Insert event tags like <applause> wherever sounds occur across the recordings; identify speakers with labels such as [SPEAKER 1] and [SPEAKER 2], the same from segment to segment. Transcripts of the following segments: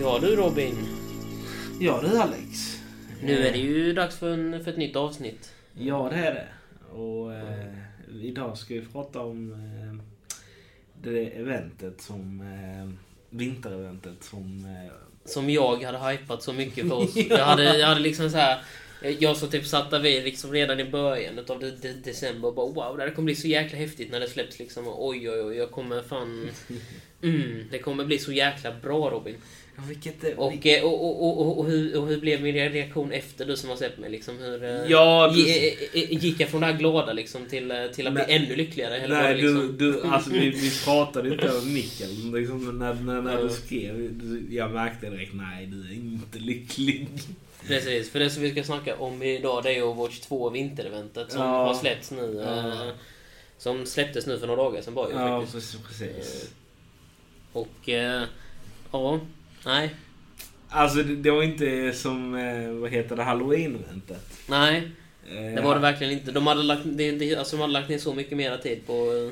[SPEAKER 1] Ja du Robin.
[SPEAKER 2] Ja du Alex.
[SPEAKER 1] Nu är det
[SPEAKER 2] Eh.
[SPEAKER 1] ju dags för, en, för ett nytt avsnitt.
[SPEAKER 2] Ja det är det. Och eh, idag ska vi prata om eh, det eventet som... Eh, vintereventet som... Eh,
[SPEAKER 1] Som jag hade hypat så mycket
[SPEAKER 2] <laughs>
[SPEAKER 1] för oss.
[SPEAKER 2] Ja.
[SPEAKER 1] Jag hade, jag hade liksom så här. Jag som typ satt där vid liksom redan i början av de, de, december och bara wow det här kommer bli så jäkla häftigt när det släpps liksom. Och Oj oj oj jag kommer
[SPEAKER 2] <laughs>
[SPEAKER 1] fan... Mm, det kommer bli så jäkla bra Robin.
[SPEAKER 2] ja, vilket... eh,
[SPEAKER 1] Och,
[SPEAKER 2] vilket-
[SPEAKER 1] eh, och, och, och, och, och, hur, och hur blev min reaktion efter du som har sett mig? Liksom, hur, eh,
[SPEAKER 2] Ja,
[SPEAKER 1] gi-
[SPEAKER 2] precis.
[SPEAKER 1] eh, eh, gick jag från det här glada liksom, till, eh, till att bli
[SPEAKER 2] Nej.
[SPEAKER 1] ännu lyckligare? Eller var
[SPEAKER 2] Nej,
[SPEAKER 1] det liksom...
[SPEAKER 2] du, du, alltså, vi, vi pratade inte över micken. Liksom, men när, när, när
[SPEAKER 1] Ja.
[SPEAKER 2] du skrev, du- jag märkte direkt, nej du är inte lycklig.
[SPEAKER 1] Precis, för det som vi ska snacka om idag det är ju Overwatch 2 vintereventet som
[SPEAKER 2] Ja.
[SPEAKER 1] har släppts nu. eh,
[SPEAKER 2] Ja.
[SPEAKER 1] Som släpptes nu för några dagar sedan bara ju
[SPEAKER 2] Ja,
[SPEAKER 1] faktiskt.
[SPEAKER 2] precis. precis.
[SPEAKER 1] Och eh, ja, nej,
[SPEAKER 2] Alltså det, det var inte som, eh, vad heter det, halloween-eventet.
[SPEAKER 1] nej.
[SPEAKER 2] Eh,
[SPEAKER 1] Det var det verkligen inte. De hade lagt, det, det, alltså, de hade lagt ner så mycket mera tid på, eh,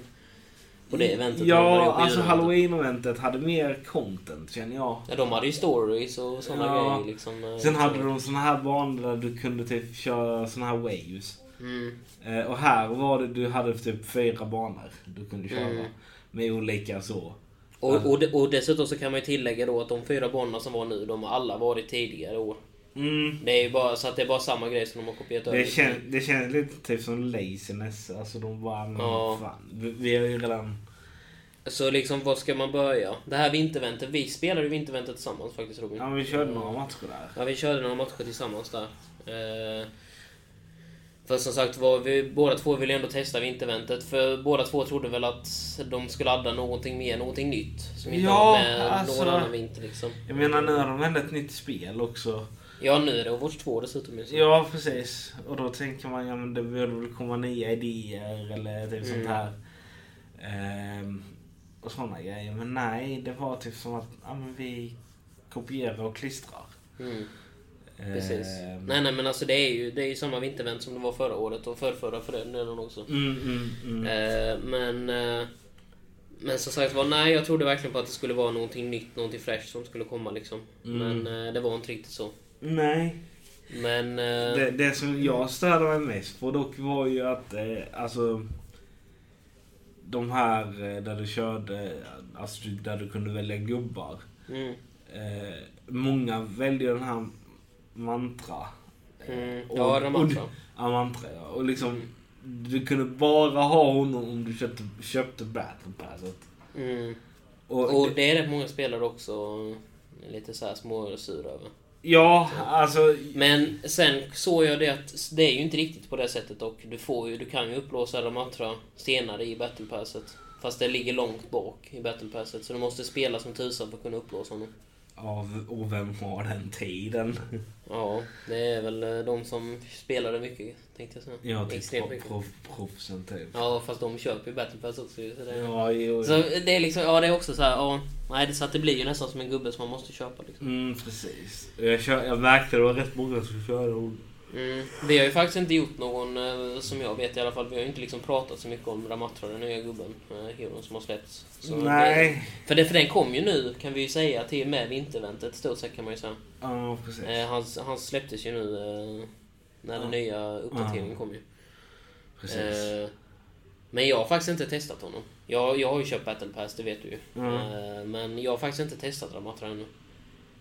[SPEAKER 1] på det eventet. än vad de
[SPEAKER 2] Ja,
[SPEAKER 1] gjorde på
[SPEAKER 2] alltså
[SPEAKER 1] julen.
[SPEAKER 2] halloween-eventet hade mer content känner jag.
[SPEAKER 1] Ja, de hade ju stories och såna
[SPEAKER 2] Ja.
[SPEAKER 1] grejer liksom. eh,
[SPEAKER 2] Sen
[SPEAKER 1] så.
[SPEAKER 2] hade de såna här banor där du kunde typ köra såna här waves.
[SPEAKER 1] Mm.
[SPEAKER 2] Eh, och här var det, du hade typ fyra banor du kunde köra.
[SPEAKER 1] Mm.
[SPEAKER 2] Med olika så.
[SPEAKER 1] Och, och, de- och dessutom så kan man ju tillägga då att de fyra banorna som var nu, de har alla varit tidigare år.
[SPEAKER 2] Mm.
[SPEAKER 1] Det är ju bara, så att det är bara samma grej som de har kopierat över.
[SPEAKER 2] Det, kän, det känns lite typ som laziness. Alltså de bara, men
[SPEAKER 1] Ja.
[SPEAKER 2] fan. Vi, vi har ju redan...
[SPEAKER 1] Så liksom, var ska man börja? Det här vinterväntet, vi spelade ju vinterväntet tillsammans faktiskt Robin.
[SPEAKER 2] Ja, vi körde några matcher där.
[SPEAKER 1] Ja, vi körde några matcher tillsammans där. Eh, för som sagt var, vi båda två ville ändå testa vinterväntet. För båda två trodde väl att de skulle adda någonting mer, någonting nytt. Som inte
[SPEAKER 2] Ja,
[SPEAKER 1] var med
[SPEAKER 2] alltså.
[SPEAKER 1] någon annan vinter liksom.
[SPEAKER 2] Jag menar nu har de ändå ett nytt spel också.
[SPEAKER 1] Ja, nu är det Overwatch 2 dessutom liksom. ju, så.
[SPEAKER 2] Ja, precis. Och då tänker man ja, men det borde väl komma nya idéer eller typ
[SPEAKER 1] Mm.
[SPEAKER 2] sånt här. Ehm, och såna grejer. Men nej, det var typ som att ja, men vi kopierar och klistrar.
[SPEAKER 1] Mm. Precis.
[SPEAKER 2] Ehm,
[SPEAKER 1] Nej, nej, men alltså det är ju, det är ju samma vintervänt som det var förra året och förrförra för den delen också.
[SPEAKER 2] Mm, mm, mm.
[SPEAKER 1] Eh, men... Eh, men som sagt var, nej, jag trodde verkligen på att det skulle vara någonting nytt, någonting fräscht som skulle komma liksom.
[SPEAKER 2] Mm.
[SPEAKER 1] Men eh, det var inte riktigt så.
[SPEAKER 2] Nej.
[SPEAKER 1] Men... Eh,
[SPEAKER 2] Det, det som jag störde mig mest på dock var ju att eh, alltså de här eh, där du körde, alltså du- där du kunde välja gubbar.
[SPEAKER 1] mm,
[SPEAKER 2] Eh, många väljer den här mantra. Eh,
[SPEAKER 1] mm, ja, det
[SPEAKER 2] och, du-
[SPEAKER 1] matchar.
[SPEAKER 2] ja, mantra ja. Och liksom, du kunde bara ha honom om du köpte, köpte battle passet.
[SPEAKER 1] Mm.
[SPEAKER 2] Och,
[SPEAKER 1] Och det är rätt många spelare också eh, lite så här småsura över.
[SPEAKER 2] ja, alltså.
[SPEAKER 1] Men sen såg jag det att det är ju inte riktigt på det sättet och du, får ju, du kan ju upplåsa alla matcher senare i battle passet. Fast det ligger långt bak i battle passet så du måste spela som tusan för att kunna upplåsa honom.
[SPEAKER 2] Ja, och vem har den tiden?
[SPEAKER 1] Ja, det är väl eh, de som spelade mycket tänkte jag säga.
[SPEAKER 2] Ja, typ
[SPEAKER 1] Extremt
[SPEAKER 2] pro,
[SPEAKER 1] mycket.
[SPEAKER 2] pro, proffsen typ.
[SPEAKER 1] Ja, fast de köper ju battle pass också ju, så det...
[SPEAKER 2] Ja, jo.
[SPEAKER 1] Så det är liksom, ja det är också så här, ja, nej det, så att det blir ju nästan som en gubbe som man måste köpa liksom.
[SPEAKER 2] Mm, precis. Jag, kör, jag märkte det var rätt många som körde hon.
[SPEAKER 1] Mm. Vi har ju faktiskt inte gjort någon, eh, som jag vet i alla fall, vi har ju inte liksom pratat så mycket om Ramatra, den nya gubben, eh, heron som har släppts. Så
[SPEAKER 2] Nej.
[SPEAKER 1] Det, för, det, för den kom ju nu, kan vi ju säga, till och med vinterväntet stort sett kan man ju säga.
[SPEAKER 2] Ja, precis.
[SPEAKER 1] Eh, han, han släpptes ju nu eh, när den
[SPEAKER 2] Ja.
[SPEAKER 1] nya uppdateringen
[SPEAKER 2] Ja.
[SPEAKER 1] kom ju.
[SPEAKER 2] precis.
[SPEAKER 1] Eh, men jag har faktiskt inte testat honom. Jag, jag har ju köpt Battle Pass, det vet du ju.
[SPEAKER 2] Ja.
[SPEAKER 1] Eh, men jag har faktiskt inte testat Ramatra ännu.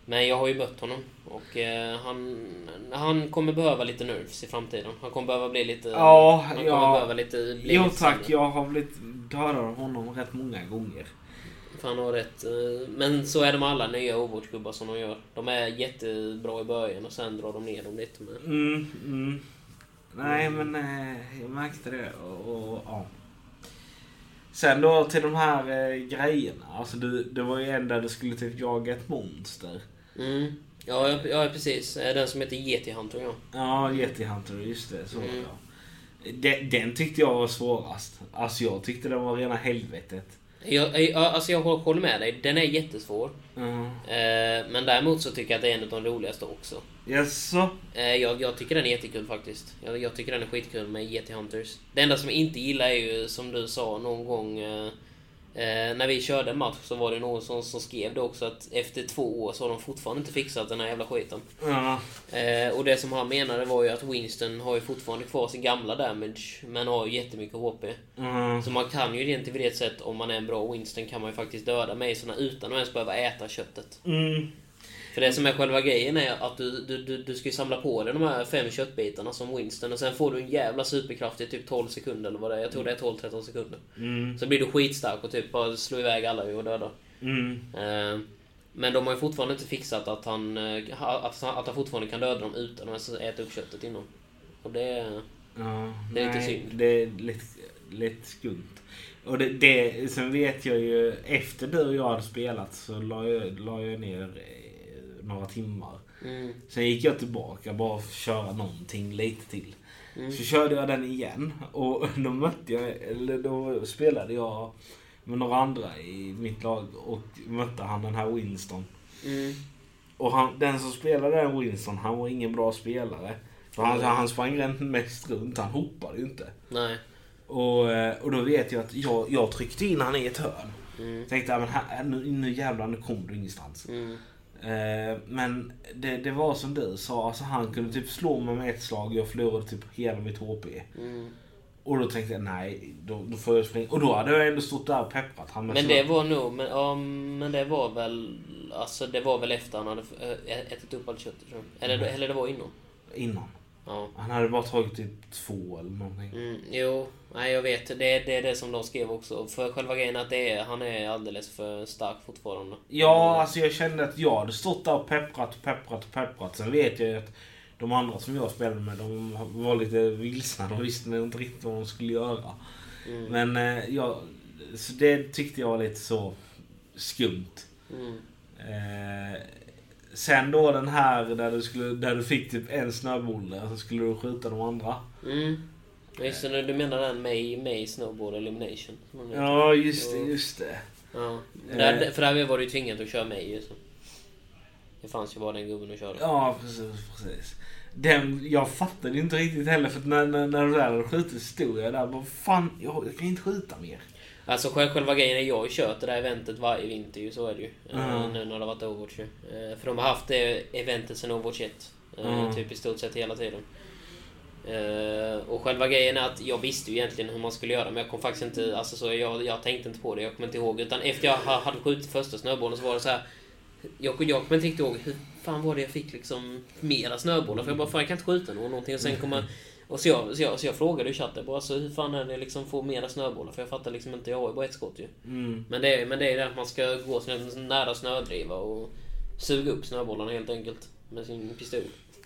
[SPEAKER 1] Men jag har ju mött honom och eh, han, han kommer behöva lite nerves i framtiden. Han kommer behöva bli lite...
[SPEAKER 2] Ja,
[SPEAKER 1] han kommer
[SPEAKER 2] ja.
[SPEAKER 1] behöva lite... Bli
[SPEAKER 2] jo
[SPEAKER 1] lite
[SPEAKER 2] tack,
[SPEAKER 1] sämre.
[SPEAKER 2] jag har blivit dödad av honom rätt många gånger.
[SPEAKER 1] För han har rätt. eh, Men så är det med alla nya Overwatch-gubbar som de gör. De är jättebra i början och sen drar de ner dem lite. Men...
[SPEAKER 2] Mm, mm. Nej, men eh, jag märkte det. Och, och, ja. Sen då till de här eh, grejerna. Alltså, du, det var ju en där du skulle typ jaga ett monster.
[SPEAKER 1] Mm. Ja, ja, ja, precis. Eh, Den som heter Yeti Hunter, ja.
[SPEAKER 2] Ja, Yeti-Hunter, just det. Så var det.
[SPEAKER 1] Mm.
[SPEAKER 2] ja. Den, den tyckte jag var svårast. Alltså jag tyckte den var rena helvetet.
[SPEAKER 1] Jag, jag, alltså jag håller med dig, den är jättesvår.
[SPEAKER 2] Ja.
[SPEAKER 1] Eh, men däremot så tycker jag att det är en av de roligaste också.
[SPEAKER 2] Jaså?
[SPEAKER 1] Eh, jag, jag tycker den är jättekul faktiskt. Jag, jag tycker E den är skitkul med Yeti Hunters. Det enda som jag inte gillar är ju, som du sa någon gång, eh, Eh, när vi körde en match så var det någon som, som skrev det också att efter två år så har de fortfarande inte fixat den här jävla skiten.
[SPEAKER 2] Ja.
[SPEAKER 1] Eh, och det som han menade var ju att Winston har ju fortfarande kvar sin gamla damage, men har ju jättemycket HP.
[SPEAKER 2] Mm.
[SPEAKER 1] Så man kan ju rent vid ett sätt, om man är en bra Winston, kan man ju faktiskt döda Masona utan att ens behöva äta köttet.
[SPEAKER 2] Mm.
[SPEAKER 1] För det som är själva grejen är att du, du, du, du ska ju samla på dig de här fem köttbitarna som Winston och sen får du en jävla superkraft i typ 12 sekunder eller vad det är. Jag tror det är 12-13 sekunder.
[SPEAKER 2] Mm.
[SPEAKER 1] Så blir du skitstark och typ bara slår iväg alla och dödar.
[SPEAKER 2] Mm.
[SPEAKER 1] Eh, Men de har ju fortfarande inte fixat att han, eh, ha- att han, att han fortfarande kan döda dem utan att ens äta upp köttet innan. Och det... är-
[SPEAKER 2] Ja,
[SPEAKER 1] Det är lite
[SPEAKER 2] nej,
[SPEAKER 1] synd.
[SPEAKER 2] Det är lite, lite skumt. Och det, det, sen vet jag ju, efter du och jag hade spelat så la jag, la jag ner eh, några timmar.
[SPEAKER 1] Mm,
[SPEAKER 2] Sen gick jag tillbaka bara för att köra någonting lite till.
[SPEAKER 1] Mm.
[SPEAKER 2] Så körde jag den igen och <laughs> då mötte jag, eller då spelade jag med några andra i mitt lag och mötte han den här Winston.
[SPEAKER 1] mm,
[SPEAKER 2] Och han, den som spelade den Winston, han var ingen bra spelare. För han, han sprang rent mest runt, han hoppade ju inte.
[SPEAKER 1] nej.
[SPEAKER 2] Och, eh, och då vet jag att jag, jag tryckte in han i ett hörn.
[SPEAKER 1] Mm,
[SPEAKER 2] Tänkte, "Ja, men här, äh, nu, nu jävlar, nu kommer du ingenstans.
[SPEAKER 1] mm,
[SPEAKER 2] Eh, men det, det var som du sa, alltså, han kunde typ slå mig med ett slag och jag förlorade typ hela mitt HP.
[SPEAKER 1] mm.
[SPEAKER 2] Och då tänkte jag, nej, då, då får jag springa. Och då hade jag ändå stått där och pepprat han med
[SPEAKER 1] Men
[SPEAKER 2] sina-
[SPEAKER 1] det var nog, men, ja, men det var väl, alltså det var väl efter han hade eh, ätit upp allt köttet tror jag. Eller, eller det var innan.
[SPEAKER 2] Innan.
[SPEAKER 1] Ja.
[SPEAKER 2] Han hade bara tagit typ två eller någonting.
[SPEAKER 1] Mm, jo, nej jag vet. Det, det är det som de skrev också. För själva grejen är att det är, han är alldeles för stark fortfarande.
[SPEAKER 2] Ja, alltså jag kände att jag hade stått där och pepprat och pepprat och pepprat. Sen vet jag ju att de andra som jag spelade med, de var lite vilsna. De visste inte riktigt vad de skulle göra.
[SPEAKER 1] Mm,
[SPEAKER 2] Men eh, jag, så det tyckte jag var lite så skumt.
[SPEAKER 1] mm,
[SPEAKER 2] Eh, sen då den här där du, skulle, där du fick typ en snöboll så skulle du skjuta de andra.
[SPEAKER 1] mm. Just det, du menar den May, May Snowboard Elimination? Ja.
[SPEAKER 2] Ja, Eh. just det, just det.
[SPEAKER 1] ja. Där, för där var du ju tvingad att köra May ju. så. Det fanns ju bara den gubben att köra.
[SPEAKER 2] Ja, precis. precis. Den, jag fattade inte riktigt heller för att när, när, när du där hade skjutit stod jag där och bara fan, jag, jag kan inte skjuta mer.
[SPEAKER 1] Alltså själ- själva grejen är jag har ju kört det där eventet varje vinter ju, så är det ju. Eh,
[SPEAKER 2] Mm.
[SPEAKER 1] Nu när det har varit Overwatch ju. Eh, För de har haft det eventet sedan Overwatch 1. eh,
[SPEAKER 2] Mm.
[SPEAKER 1] Typ i stort sett hela tiden. Eh, Och själva grejen är att jag visste ju egentligen hur man skulle göra men jag kom faktiskt inte, alltså så jag, jag tänkte inte på det, jag kommer inte ihåg. Utan efter jag ha- hade skjutit första snöbollen så var det så här. Jag, jag kommer inte riktigt ihåg hur fan var det jag fick liksom mera snöbollar för jag bara fan jag kan inte skjuta någon, någonting och sen kommer och så jag, så jag, så jag frågade i chatten bara så hur fan är det liksom få mera snöbollar för jag fattar liksom inte, jag har ju bara ett skott ju.
[SPEAKER 2] Mm.
[SPEAKER 1] Men det, är- men det är det att man ska gå till en nära snödriva och suga upp snöbollarna helt enkelt med sin pistol.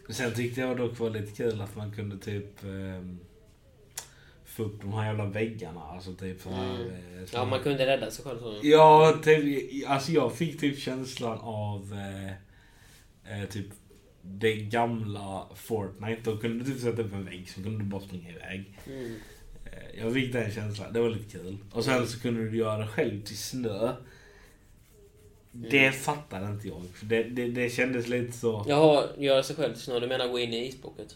[SPEAKER 2] Sen tyckte jag dock var lite kul att man kunde typ ehm, få upp de här jävla väggarna. Alltså typ så här,
[SPEAKER 1] Mm.
[SPEAKER 2] eh, så
[SPEAKER 1] Ja,
[SPEAKER 2] här-
[SPEAKER 1] man kunde rädda sig själv så.
[SPEAKER 2] Ja, typ, alltså jag fick typ känslan av eh, eh, typ det gamla Fortnite. Då kunde du typ sätta upp en vägg så kunde du bara springa iväg.
[SPEAKER 1] Mm.
[SPEAKER 2] Eh, jag fick den känslan. Det var lite kul. Och sen så kunde du göra det själv till snö. Det
[SPEAKER 1] Mm.
[SPEAKER 2] fattade inte jag. För det, det, det kändes lite så...
[SPEAKER 1] Jaha, göra sig själv till snö. Du menar gå in i isblocket?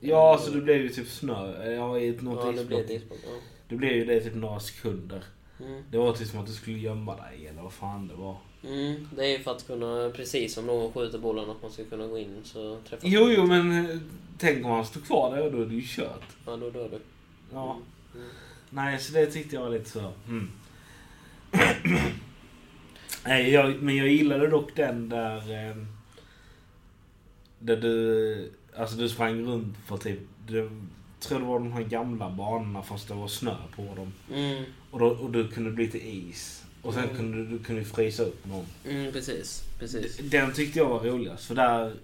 [SPEAKER 2] Ja, så det blev ju typ snö. Eh, Ja, i ett- något
[SPEAKER 1] Ja, det
[SPEAKER 2] isblock.
[SPEAKER 1] blir ett isblock. Ja.
[SPEAKER 2] det blev ju det i typ några sekunder.
[SPEAKER 1] Mm.
[SPEAKER 2] Det var typ som att du skulle gömma dig eller vad fan det var.
[SPEAKER 1] Mm. Det är ju för att kunna, precis som någon skjuter bollen, att man ska kunna gå in så träffa.
[SPEAKER 2] Jo, jo, men eh, tänk om han står kvar där och då är det ju kört.
[SPEAKER 1] Ja, då dör du.
[SPEAKER 2] Ja.
[SPEAKER 1] Mm.
[SPEAKER 2] Nej, så det tyckte jag var lite så... Mm. <clears throat> Nej, jag, men jag gillade dock den där... eh, Där du... Alltså du sprang runt på typ... Du, tror det var de här gamla banorna fast det var snö på dem.
[SPEAKER 1] Mm.
[SPEAKER 2] Och, då, och du kunde bli till is. Och sen
[SPEAKER 1] Mm.
[SPEAKER 2] kunde du, du kunde frysa upp någon.
[SPEAKER 1] Mm, precis. Precis.
[SPEAKER 2] D- Den tyckte jag var roligast. För där...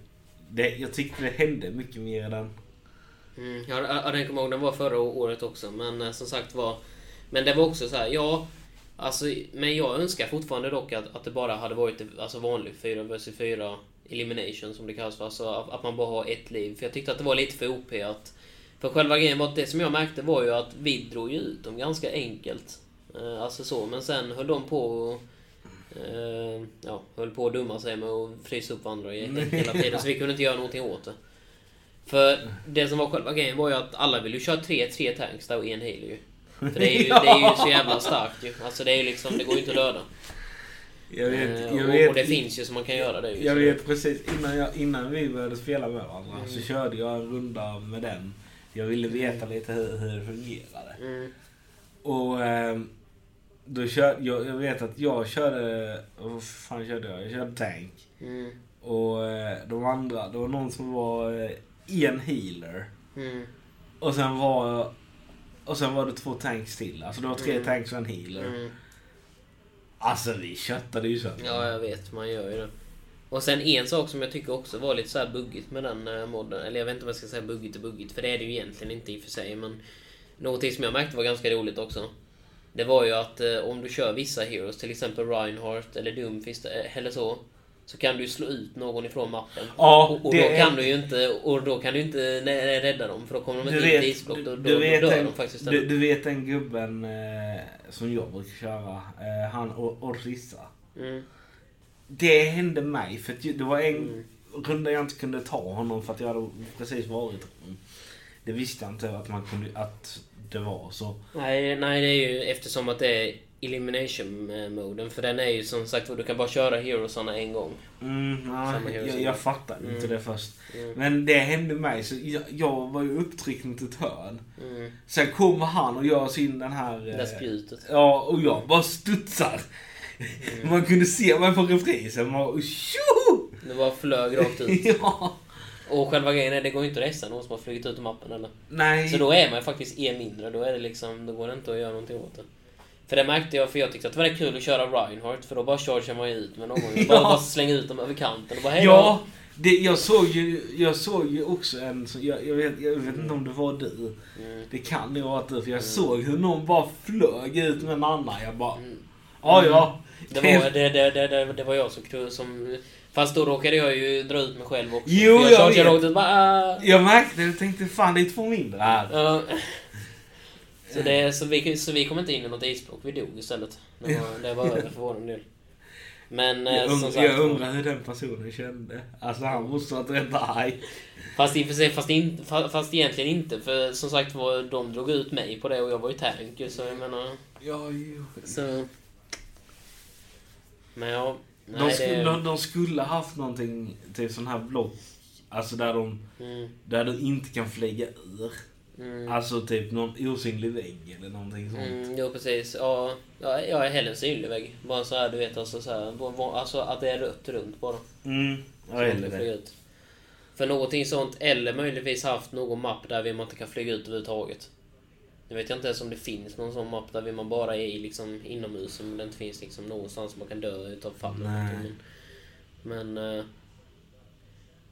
[SPEAKER 2] Det, jag tyckte det hände mycket mer i den.
[SPEAKER 1] Mm, ja, ja, den kommer jag ihåg, den var förra året också. Men eh, som sagt var... Men det var också så här, ja... Alltså, men jag önskar fortfarande dock att, att det bara hade varit alltså, vanlig 4 vs 4 elimination som det kallas för. Alltså att, att man bara har ett liv. För jag tyckte att det var lite för OP att... För själva grejen var att det som jag märkte var ju att vi drog ju ut dem ganska enkelt. Eh, alltså så, men sen höll de på och, eh, Ja, höll på att dumma sig med att frysa upp varandra i- hela tiden. Så vi kunde inte göra någonting åt det. För det som var själva grejen var ju att alla ville ju köra tre, tre tanks där och en healer ju. För det är
[SPEAKER 2] <laughs>
[SPEAKER 1] ju, det är ju så jävla starkt ju. Alltså det är ju liksom, det går ju inte att döda.
[SPEAKER 2] Jag vet,
[SPEAKER 1] Eh,
[SPEAKER 2] jag
[SPEAKER 1] och,
[SPEAKER 2] vet,
[SPEAKER 1] och det finns ju så man kan göra det ju.
[SPEAKER 2] Jag
[SPEAKER 1] Så
[SPEAKER 2] vet precis, innan, jag, innan vi började spela med varandra så
[SPEAKER 1] Mm.
[SPEAKER 2] körde jag en runda med den. Jag ville veta lite hur, hur det fungerade.
[SPEAKER 1] det- Mm.
[SPEAKER 2] Och ehm, då kör, jag, jag vet att jag körde, vad fan körde jag? Jag körde tank.
[SPEAKER 1] Mm.
[SPEAKER 2] Och eh, de andra, det var någon som var eh, en healer.
[SPEAKER 1] Mm.
[SPEAKER 2] Och sen var, och sen var det två tanks till. Alltså det var tre
[SPEAKER 1] Mm.
[SPEAKER 2] tanks och en healer.
[SPEAKER 1] Mm.
[SPEAKER 2] Alltså vi köttade ju sönder.
[SPEAKER 1] Ja, jag vet. Man gör ju det. Och sen en sak som jag tycker också var lite så här buggigt med den eh, modden. Eller jag vet inte om jag ska säga buggigt och buggigt, för det är det ju egentligen inte i och för sig. Men någonting som jag märkte var ganska roligt också. Det var ju att eh, om du kör vissa heroes, till exempel Reinhardt eller Doomfist eh, eller så. Så kan du slå ut någon ifrån mappen.
[SPEAKER 2] Ja,
[SPEAKER 1] och, och, då
[SPEAKER 2] det är-
[SPEAKER 1] kan du ju inte, och då kan du inte eh, nej, rädda dem för då kommer de
[SPEAKER 2] Du
[SPEAKER 1] inte in i
[SPEAKER 2] vet,
[SPEAKER 1] isblock. Då, då,
[SPEAKER 2] du-
[SPEAKER 1] då
[SPEAKER 2] du vet
[SPEAKER 1] dör
[SPEAKER 2] en-
[SPEAKER 1] de faktiskt.
[SPEAKER 2] Du, du vet den gubben eh, som jag brukar köra, eh, han Or- Orissa.
[SPEAKER 1] Mm.
[SPEAKER 2] Det hände mig för att ju- det var en runda jag inte kunde ta honom för att jag hade precis varit honom. Det visste jag inte att, man kunde, att det var så.
[SPEAKER 1] Nej, nej, det är ju eftersom att det är elimination-moden. För den är ju som sagt du kan bara köra heroesarna en gång.
[SPEAKER 2] Mm,
[SPEAKER 1] Samma
[SPEAKER 2] nej,
[SPEAKER 1] hero
[SPEAKER 2] jag,
[SPEAKER 1] som-
[SPEAKER 2] jag fattade
[SPEAKER 1] Mm.
[SPEAKER 2] inte det först. Men det hände mig så jag, jag var ju upptryckt mot ett hörn.
[SPEAKER 1] Mm.
[SPEAKER 2] Sen kommer han och gör sin den här...
[SPEAKER 1] Det
[SPEAKER 2] eh,
[SPEAKER 1] där spjutet.
[SPEAKER 2] Ja, och jag bara studsar. Man kunde se mig på reprisen. Man bara, tjoho!
[SPEAKER 1] Det bara flög rakt
[SPEAKER 2] <laughs>
[SPEAKER 1] ut.
[SPEAKER 2] Ja. Och,
[SPEAKER 1] Och själva grejen är det går ju inte att resa någon som har flugit ut ur mappen eller.
[SPEAKER 2] nej.
[SPEAKER 1] Så då är man ju faktiskt en mindre. Då, är det liksom, då går det inte att göra någonting åt det. För det märkte jag, för jag tyckte att det var kul att köra Reinhardt för då bara chargear man ju ut med någon. Bara,
[SPEAKER 2] <laughs> Ja.
[SPEAKER 1] bara slänga ut dem över kanten och bara hej då.
[SPEAKER 2] ja, det, jag, såg ju, jag såg ju också en... som- Jag, jag, vet, jag vet inte om det var du.
[SPEAKER 1] Mm.
[SPEAKER 2] Det kan ju ha varit du. För jag såg hur någon bara flög ut med en annan. Jag
[SPEAKER 1] Mm.
[SPEAKER 2] bara, ja ja.
[SPEAKER 1] Det var, det, det, det, det, det var jag som, kru- som... Fast då råkade jag ju dra ut mig själv också.
[SPEAKER 2] Jo,
[SPEAKER 1] för
[SPEAKER 2] jag
[SPEAKER 1] chargeade
[SPEAKER 2] vet.
[SPEAKER 1] rakt ut och bara... "Ah."
[SPEAKER 2] Jag märkte det och tänkte, fan det är två mindre här.
[SPEAKER 1] Ja. Så, det, så, vi, så vi kom inte in i något isblock, vi dog istället. Det var, det var över för vår del. Men eh,
[SPEAKER 2] Jag
[SPEAKER 1] som
[SPEAKER 2] undrar,
[SPEAKER 1] sagt.
[SPEAKER 2] jag undrar hur den personen kände. Alltså han måste ha varit rätt arg.
[SPEAKER 1] Fast, i och för sig, fast, in, fa- fast egentligen inte, för som sagt var, de drog ut mig på det och jag var ju tank ju, så jag menar...
[SPEAKER 2] Ja, jo.
[SPEAKER 1] Så... Men ja.
[SPEAKER 2] De,
[SPEAKER 1] Nej,
[SPEAKER 2] skulle,
[SPEAKER 1] det,
[SPEAKER 2] de, de skulle haft någonting, typ sån här block. Alltså där de,
[SPEAKER 1] mm,
[SPEAKER 2] där du inte kan flyga ur.
[SPEAKER 1] mm,
[SPEAKER 2] Alltså typ någon osynlig vägg eller någonting sånt.
[SPEAKER 1] mm, jo precis. Ja, ja, jag är hellre en synlig vägg. Bara så här, du vet, alltså, så här, va- va- alltså att det är rött runt bara.
[SPEAKER 2] Mm.
[SPEAKER 1] Så
[SPEAKER 2] Ja,
[SPEAKER 1] man inte
[SPEAKER 2] eller
[SPEAKER 1] kan
[SPEAKER 2] det.
[SPEAKER 1] flyga ut. För någonting sånt, eller möjligtvis haft någon mapp där vi man inte kan flyga ut överhuvudtaget. Nu vet jag inte ens om det finns någon sån mapp där vi man bara är i liksom inomhus, om det inte finns liksom någonstans man kan dö utav fall. eller
[SPEAKER 2] Nej.
[SPEAKER 1] någonting. Men... men eh,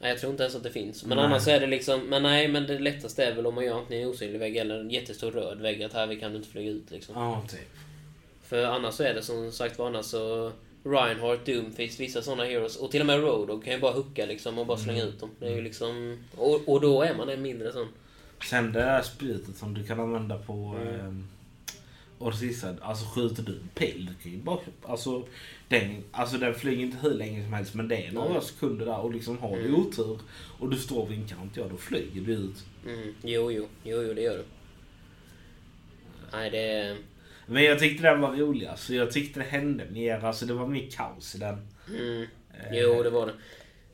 [SPEAKER 1] nej, jag tror inte ens att det finns. Men
[SPEAKER 2] Nej.
[SPEAKER 1] annars är det liksom, men nej, men det lättaste är väl om man gör antingen en osynlig vägg eller en jättestor röd vägg, att här vi kan inte flyga ut liksom.
[SPEAKER 2] Ja, typ.
[SPEAKER 1] För annars så är det som sagt var annars så Reinhardt, Doomfist, vissa sådana heroes och till och med Roadhog kan ju bara hooka liksom och bara slänga ut dem. Det är ju liksom... Och, och då är man en mindre sån.
[SPEAKER 2] Sen det där spjutet som du kan använda på mm. Orsissa. Alltså skjuter du en pil, du kan ju bara... Alltså den, alltså den flyger inte hur länge som helst men det är några sekunder där och liksom har du otur och du står vid en kant, ja då flyger du ut.
[SPEAKER 1] Mm. Jo, jo, jo, jo, det gör du. Nej, det är...
[SPEAKER 2] Men jag tyckte den var rolig. Alltså, jag tyckte det hände mer. Alltså, det var mer kaos i den.
[SPEAKER 1] Mm. Jo, det var det.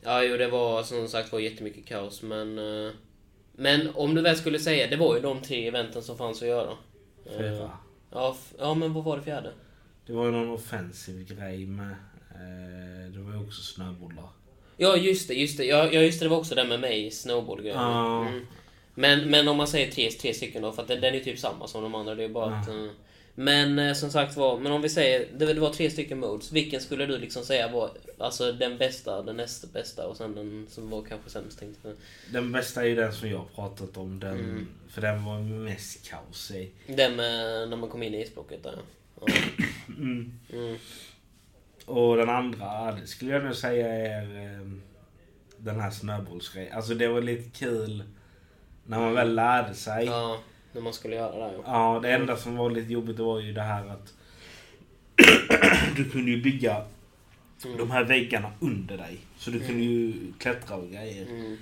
[SPEAKER 1] Ja, jo, det var som sagt var jättemycket kaos, men... eh, Men om du väl skulle säga, det var ju de tre eventen som fanns att göra. Eh,
[SPEAKER 2] Fyra.
[SPEAKER 1] Ja, f- ja, men vad var det fjärde?
[SPEAKER 2] Det var ju någon offensiv grej med. Eh, det var ju också snöbollar.
[SPEAKER 1] Ja just det, just det. Ja, ja, just det, det var också det med mig, snowball-grejen.
[SPEAKER 2] Ja.
[SPEAKER 1] Mm. Men, men om man säger tre, tre stycken då, för att den, den är ju typ samma som de andra. Det är bara att, eh, men eh, som sagt var, men om vi säger, det, det var tre stycken modes. Vilken skulle du liksom säga var alltså, den bästa, den näst bästa och sen den som var kanske sämst? Tänkte jag.
[SPEAKER 2] Den bästa är ju den som jag har pratat om. Den, För den var mest kaos i.
[SPEAKER 1] Den med, när man kom in i isblocket där. ja. Ja. Mm.
[SPEAKER 2] Och den andra, det skulle jag nog säga är eh, den här snöbollsgrejen. Alltså det var lite kul när man väl lärde sig. Ja.
[SPEAKER 1] Ja, när man skulle göra det där ja.
[SPEAKER 2] det enda som var lite jobbigt var ju det här att <clears throat> du kunde ju bygga
[SPEAKER 1] Mm.
[SPEAKER 2] de här väggarna under dig. Så du kunde ju klättra och grejer.
[SPEAKER 1] Mm.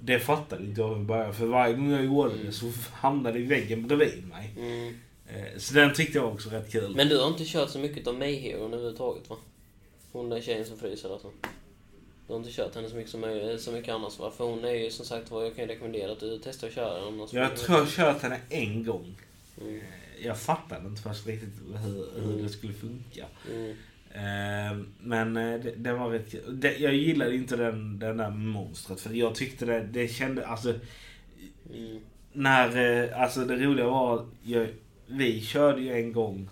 [SPEAKER 2] Det fattade inte jag i början. För varje gång jag gjorde det så hamnade i väggen bredvid mig.
[SPEAKER 1] Mm.
[SPEAKER 2] Eh, Så den tyckte jag också var rätt kul.
[SPEAKER 1] Men du har inte kört så mycket av Mayheron överhuvudtaget va? Hon där tjejen som fryser alltså. Du har inte kört henne så mycket som, möj- så mycket annars va? För hon är ju som sagt vad jag kan ju rekommendera att du testar att köra den. och så-
[SPEAKER 2] Jag tror jag kört henne en gång.
[SPEAKER 1] Mm.
[SPEAKER 2] Eh, Jag fattade inte först riktigt hur, hur det skulle funka.
[SPEAKER 1] Mm.
[SPEAKER 2] Eh, Men eh, det- den var rätt kul. Det- Jag gillade inte den, den där monstret. För jag tyckte det, det kände, alltså
[SPEAKER 1] Mm.
[SPEAKER 2] När, eh, alltså det roliga var, jag, vi körde ju en gång.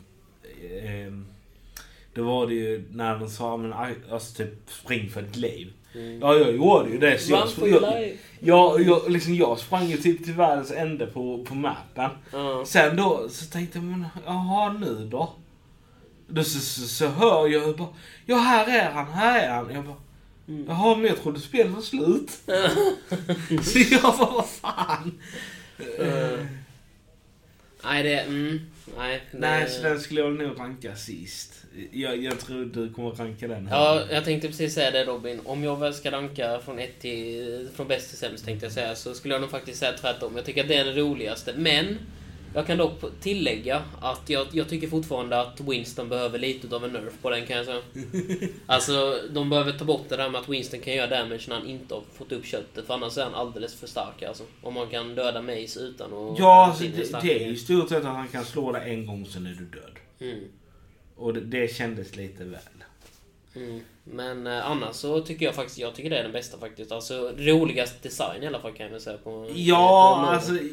[SPEAKER 2] Eh, då var det ju när de sa, men, alltså typ spring för ditt liv.
[SPEAKER 1] Mm.
[SPEAKER 2] Ja, jag gjorde ju det. Så jag,
[SPEAKER 1] Run for
[SPEAKER 2] <laughs>
[SPEAKER 1] your
[SPEAKER 2] jag,
[SPEAKER 1] life!
[SPEAKER 2] jag, jag, liksom, jag sprang ju typ till världens ände på, på mappen.
[SPEAKER 1] Ja.
[SPEAKER 2] Sen då så tänkte jag, men jaha nu då? Då så, så, så hör jag ju bara, ja här är han, här är han. Jag bara,
[SPEAKER 1] Mm.
[SPEAKER 2] jaha men jag trodde spelet
[SPEAKER 1] <laughs>
[SPEAKER 2] var slut. <laughs> så jag bara, vad fan?
[SPEAKER 1] Eh, Nej det... Mm. Nej. Det,
[SPEAKER 2] Nej, så den skulle jag nog ranka sist. Jag, jag tror du kommer ranka den
[SPEAKER 1] Ja, jag tänkte precis säga det Robin. Om jag väl ska ranka från, ett till, från bäst till sämst tänkte jag säga, så skulle jag nog faktiskt säga tvärtom. Jag tycker att det är den roligaste. Men, jag kan dock tillägga att jag, jag tycker fortfarande att Winston behöver lite av en nerf på den kan
[SPEAKER 2] <laughs>
[SPEAKER 1] jag säga. Alltså, de behöver ta bort det där med att Winston kan göra damage när han inte har fått upp köttet, för annars är han alldeles för stark alltså. Om man kan döda Mace utan att...
[SPEAKER 2] Ja, alltså,
[SPEAKER 1] sin
[SPEAKER 2] det,
[SPEAKER 1] starka
[SPEAKER 2] det är
[SPEAKER 1] grej.
[SPEAKER 2] ju stort sett att han kan slå dig en gång, sen är du död.
[SPEAKER 1] Mm.
[SPEAKER 2] Och det, det kändes lite väl.
[SPEAKER 1] Mm. Men eh, annars så tycker jag faktiskt jag tycker det är den bästa faktiskt. Alltså roligast design i alla fall kan jag väl säga. På, på
[SPEAKER 2] Ja,
[SPEAKER 1] målet,
[SPEAKER 2] alltså...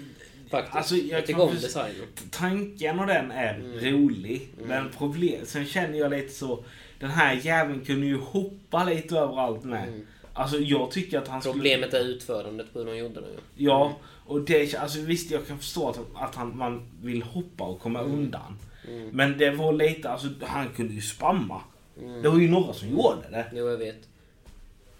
[SPEAKER 1] Faktiskt.
[SPEAKER 2] alltså, jag
[SPEAKER 1] jag tycker
[SPEAKER 2] kan
[SPEAKER 1] om Mm.
[SPEAKER 2] först-
[SPEAKER 1] designen.
[SPEAKER 2] Tanken och den är rolig. Men problem... Sen känner jag lite så... Den här jäveln kunde ju hoppa lite överallt med. Alltså jag tycker att han skulle...
[SPEAKER 1] Mm. Problemet är utförandet på hur de gjorde det. ju.
[SPEAKER 2] Ja, och det, alltså visst jag kan förstå att, att han, man vill hoppa och komma
[SPEAKER 1] Mm.
[SPEAKER 2] undan. Men det var lite, alltså han kunde ju spamma.
[SPEAKER 1] Mm.
[SPEAKER 2] Det var ju några som gjorde det.
[SPEAKER 1] Jo, jag vet.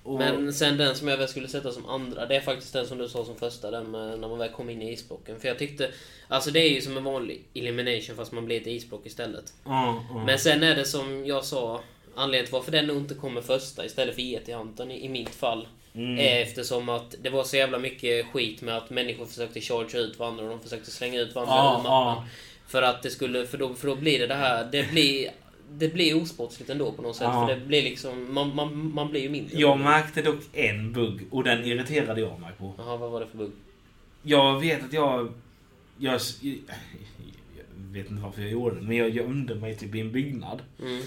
[SPEAKER 2] Och,
[SPEAKER 1] Men sen den som jag väl skulle sätta som andra, det är faktiskt den som du sa som första, den med, när man väl kom in i isblocken. För jag tyckte, alltså det är ju som en vanlig elimination fast man blir ett isblock istället.
[SPEAKER 2] Ja, ja.
[SPEAKER 1] Men sen är det som jag sa, anledningen till varför den nog inte kommer första istället för E.T. i, i mitt fall.
[SPEAKER 2] Mm.
[SPEAKER 1] Är eftersom att det var så jävla mycket skit med att människor försökte charge ut varandra och de försökte slänga ut varandra
[SPEAKER 2] Ja,
[SPEAKER 1] ur mappen.
[SPEAKER 2] ja.
[SPEAKER 1] För att det skulle, för då, för då blir det det här, det blir, det blir osportsligt ändå på något sätt.
[SPEAKER 2] Ja.
[SPEAKER 1] För det blir liksom, man, man, man blir ju mindre.
[SPEAKER 2] Jag märkte dock en bugg och den irriterade jag mig på.
[SPEAKER 1] Jaha, vad var det för bugg?
[SPEAKER 2] Jag vet att jag... Jag, jag, vet inte varför jag gjorde det, men jag gömde mig typ i en byggnad.
[SPEAKER 1] Mm.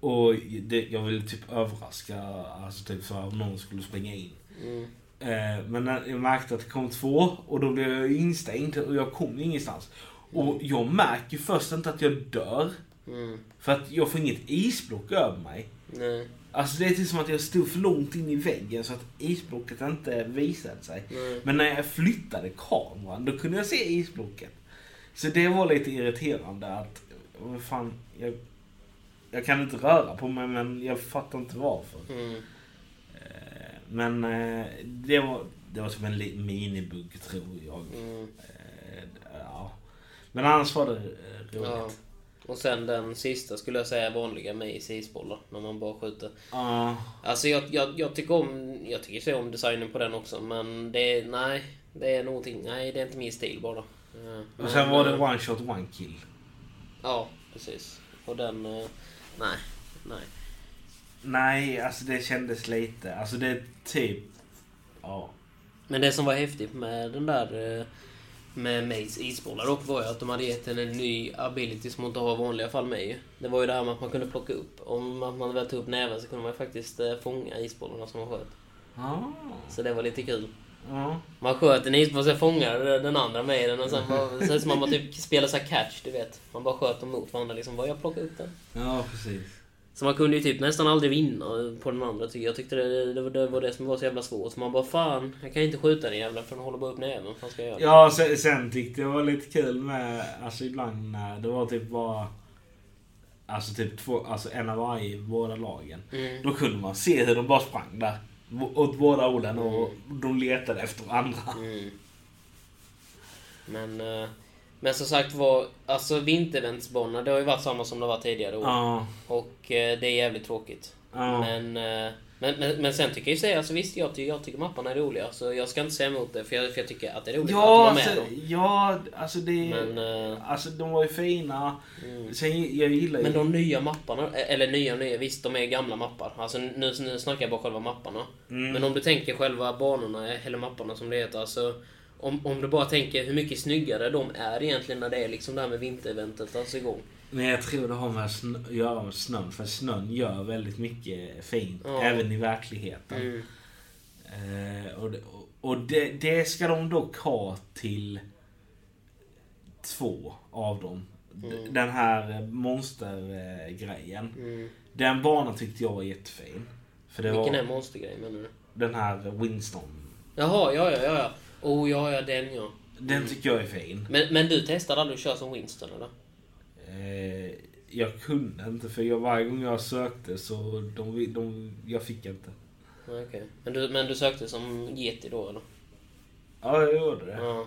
[SPEAKER 2] Och det, jag ville typ överraska, alltså typ så att någon skulle springa in.
[SPEAKER 1] Mm.
[SPEAKER 2] Eh, Men när jag märkte att det kom två och då blev jag instängd och jag kom ingenstans. Och jag märker ju först inte att jag dör.
[SPEAKER 1] Mm.
[SPEAKER 2] För att jag får inget isblock över mig.
[SPEAKER 1] Nej.
[SPEAKER 2] Alltså det är typ som att jag stod för långt in i väggen så att isblocket inte visade sig.
[SPEAKER 1] Nej.
[SPEAKER 2] Men när jag flyttade kameran då kunde jag se isblocket. Så det var lite irriterande att... Vad fan, jag, jag kan inte röra på mig men jag fattar inte varför.
[SPEAKER 1] Mm.
[SPEAKER 2] Eh, Men eh, det var, det var som en liten minibugg tror jag.
[SPEAKER 1] Mm.
[SPEAKER 2] Eh, Ja. Men annars var det eh, roligt.
[SPEAKER 1] Ja.
[SPEAKER 2] Ja.
[SPEAKER 1] Och sen den sista skulle jag säga är vanliga Mace isbollar, när man bara skjuter. Alltså jag, jag, jag tycker om jag tycker så om designen på den också men det är, nej, det är någonting, nej det är inte min stil bara. Eh, men,
[SPEAKER 2] och sen var det
[SPEAKER 1] eh,
[SPEAKER 2] one shot one kill.
[SPEAKER 1] Ja, precis. Och den, eh, nej, nej.
[SPEAKER 2] Nej, alltså det kändes lite. Alltså det är typ... Ja.
[SPEAKER 1] Men det som var häftigt med den där eh, med Mays isbollar dock var ju att de hade gett henne en ny ability som hon inte har i vanliga fall med ju. Det var ju det här med att man kunde plocka upp, om man man väl tog upp näven så kunde man ju faktiskt eh, fånga isbollarna som man sköt.
[SPEAKER 2] Ja.
[SPEAKER 1] Så det var lite kul.
[SPEAKER 2] Ja.
[SPEAKER 1] Man sköt en isboll, sen fångade den andra med den och sen bara, sen som man bara typ spelar så här catch, du vet. Man bara sköt dem mot varandra liksom. Bara jag plockade upp den.
[SPEAKER 2] ja, precis.
[SPEAKER 1] Så man kunde ju typ nästan aldrig vinna på den andra tycker jag. Jag tyckte det, det, var- det var det som var så jävla svårt. Så man bara fan, jag kan inte skjuta den jäveln för den håller bara upp näven. Vad fan ska jag göra?
[SPEAKER 2] Ja, sen, sen tyckte jag det var lite kul med... Alltså ibland när det var typ bara... Alltså typ två, alltså en av varje, båda lagen.
[SPEAKER 1] Mm.
[SPEAKER 2] Då kunde man se hur de bara sprang där. Bo- Åt båda hållen och de letade efter varandra.
[SPEAKER 1] Mm. Men, eh, men som sagt var, alltså vinterventsbanor det har ju varit samma som det var tidigare år.
[SPEAKER 2] Ja.
[SPEAKER 1] Och eh, det är jävligt tråkigt.
[SPEAKER 2] Ja.
[SPEAKER 1] Men eh, Men, men, men sen tycker jag ju säga, alltså visst jag, ty- jag tycker mapparna är roliga. Så jag ska inte säga emot det för jag, för jag tycker att det är roligt att
[SPEAKER 2] Ja,
[SPEAKER 1] vara med
[SPEAKER 2] alltså,
[SPEAKER 1] dem.
[SPEAKER 2] ja, alltså det...
[SPEAKER 1] Men, eh,
[SPEAKER 2] Alltså de var ju fina.
[SPEAKER 1] mm.
[SPEAKER 2] Sen jag gillar ju...
[SPEAKER 1] men de nya mapparna, eh, eller nya nya, visst de är gamla mappar. Alltså nu, nu snackar jag bara själva mapparna.
[SPEAKER 2] Mm.
[SPEAKER 1] Men om du tänker själva banorna, eh, eller mapparna som det heter. Alltså, om, om du bara tänker hur mycket snyggare de är egentligen när det är liksom det här med vintereventet alltså igång.
[SPEAKER 2] Men jag tror det har med snö, att göra med snön. För snön gör väldigt mycket fint.
[SPEAKER 1] Ja.
[SPEAKER 2] Även i verkligheten.
[SPEAKER 1] Mm.
[SPEAKER 2] Eh, och det, och- och det, det ska de dock ha till två av dem. D-
[SPEAKER 1] Mm.
[SPEAKER 2] Den här monstergrejen.
[SPEAKER 1] Mm.
[SPEAKER 2] Den banan tyckte jag var jättefin. För det
[SPEAKER 1] Vilken
[SPEAKER 2] var
[SPEAKER 1] är monstergrejen menar du?
[SPEAKER 2] den här Winston.
[SPEAKER 1] Jaha, ja, ja, ja, ja. Oh, ja, ja, den ja.
[SPEAKER 2] Den tycker jag är fin.
[SPEAKER 1] Men, men du testade aldrig att köra som Winston eller?
[SPEAKER 2] Eh, jag kunde inte för jag, varje gång jag sökte så de, de, jag fick inte.
[SPEAKER 1] Nej, okej. Men, du, men du sökte som Yeti då eller?
[SPEAKER 2] Ja, jag gjorde det.
[SPEAKER 1] Ja.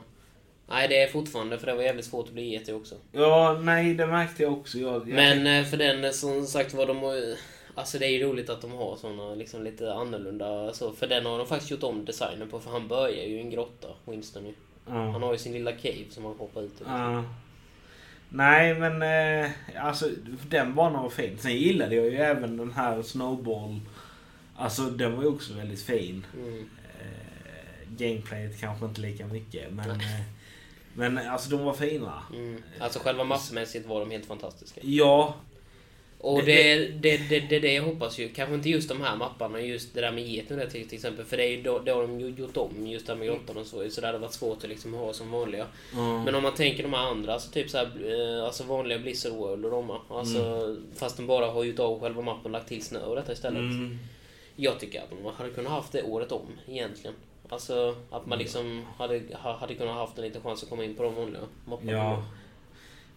[SPEAKER 1] Nej, det är fortfarande för det var jävligt svårt att bli Yeti också.
[SPEAKER 2] Ja, nej, det märkte jag också. Jag, jag
[SPEAKER 1] Men eh, för den eh, som sagt var, de har ju... Alltså det är ju roligt att de har såna liksom lite annorlunda så. För den har de faktiskt gjort om designen på för han börjar ju i en grotta, Winston ju.
[SPEAKER 2] Ja.
[SPEAKER 1] Han har ju sin lilla cave som han hoppar ut ur.
[SPEAKER 2] Ja. Nej, men eh, alltså den banan var fin. Sen gillade jag ju även den här Snowball. Alltså den var ju också väldigt fin.
[SPEAKER 1] Mm.
[SPEAKER 2] Eh, gameplayet kanske inte lika mycket, men, eh, men alltså de var fina.
[SPEAKER 1] Mm. Alltså själva mappmässigt var de helt fantastiska.
[SPEAKER 2] Ja,
[SPEAKER 1] Och det,
[SPEAKER 2] Det-
[SPEAKER 1] det, det, det, det jag hoppas ju, kanske inte just de här mapparna, just det där med geten där till, till exempel. För det, är ju då, det har de ju gjort om, just det här med grottan och så. Så det hade varit svårt att liksom ha som vanliga.
[SPEAKER 2] mm,
[SPEAKER 1] Men om man tänker de här andra, alltså typ så här, eh, alltså vanliga Blizzard World och de alltså, Fast de bara har gjort av själva mappen och lagt till snö och detta istället.
[SPEAKER 2] mm,
[SPEAKER 1] Jag tycker att de hade kunnat haft det året om egentligen. Alltså att
[SPEAKER 2] Mm.
[SPEAKER 1] man liksom hade, ha- hade kunnat haft en liten chans att komma in på de vanliga mapparna.
[SPEAKER 2] ja.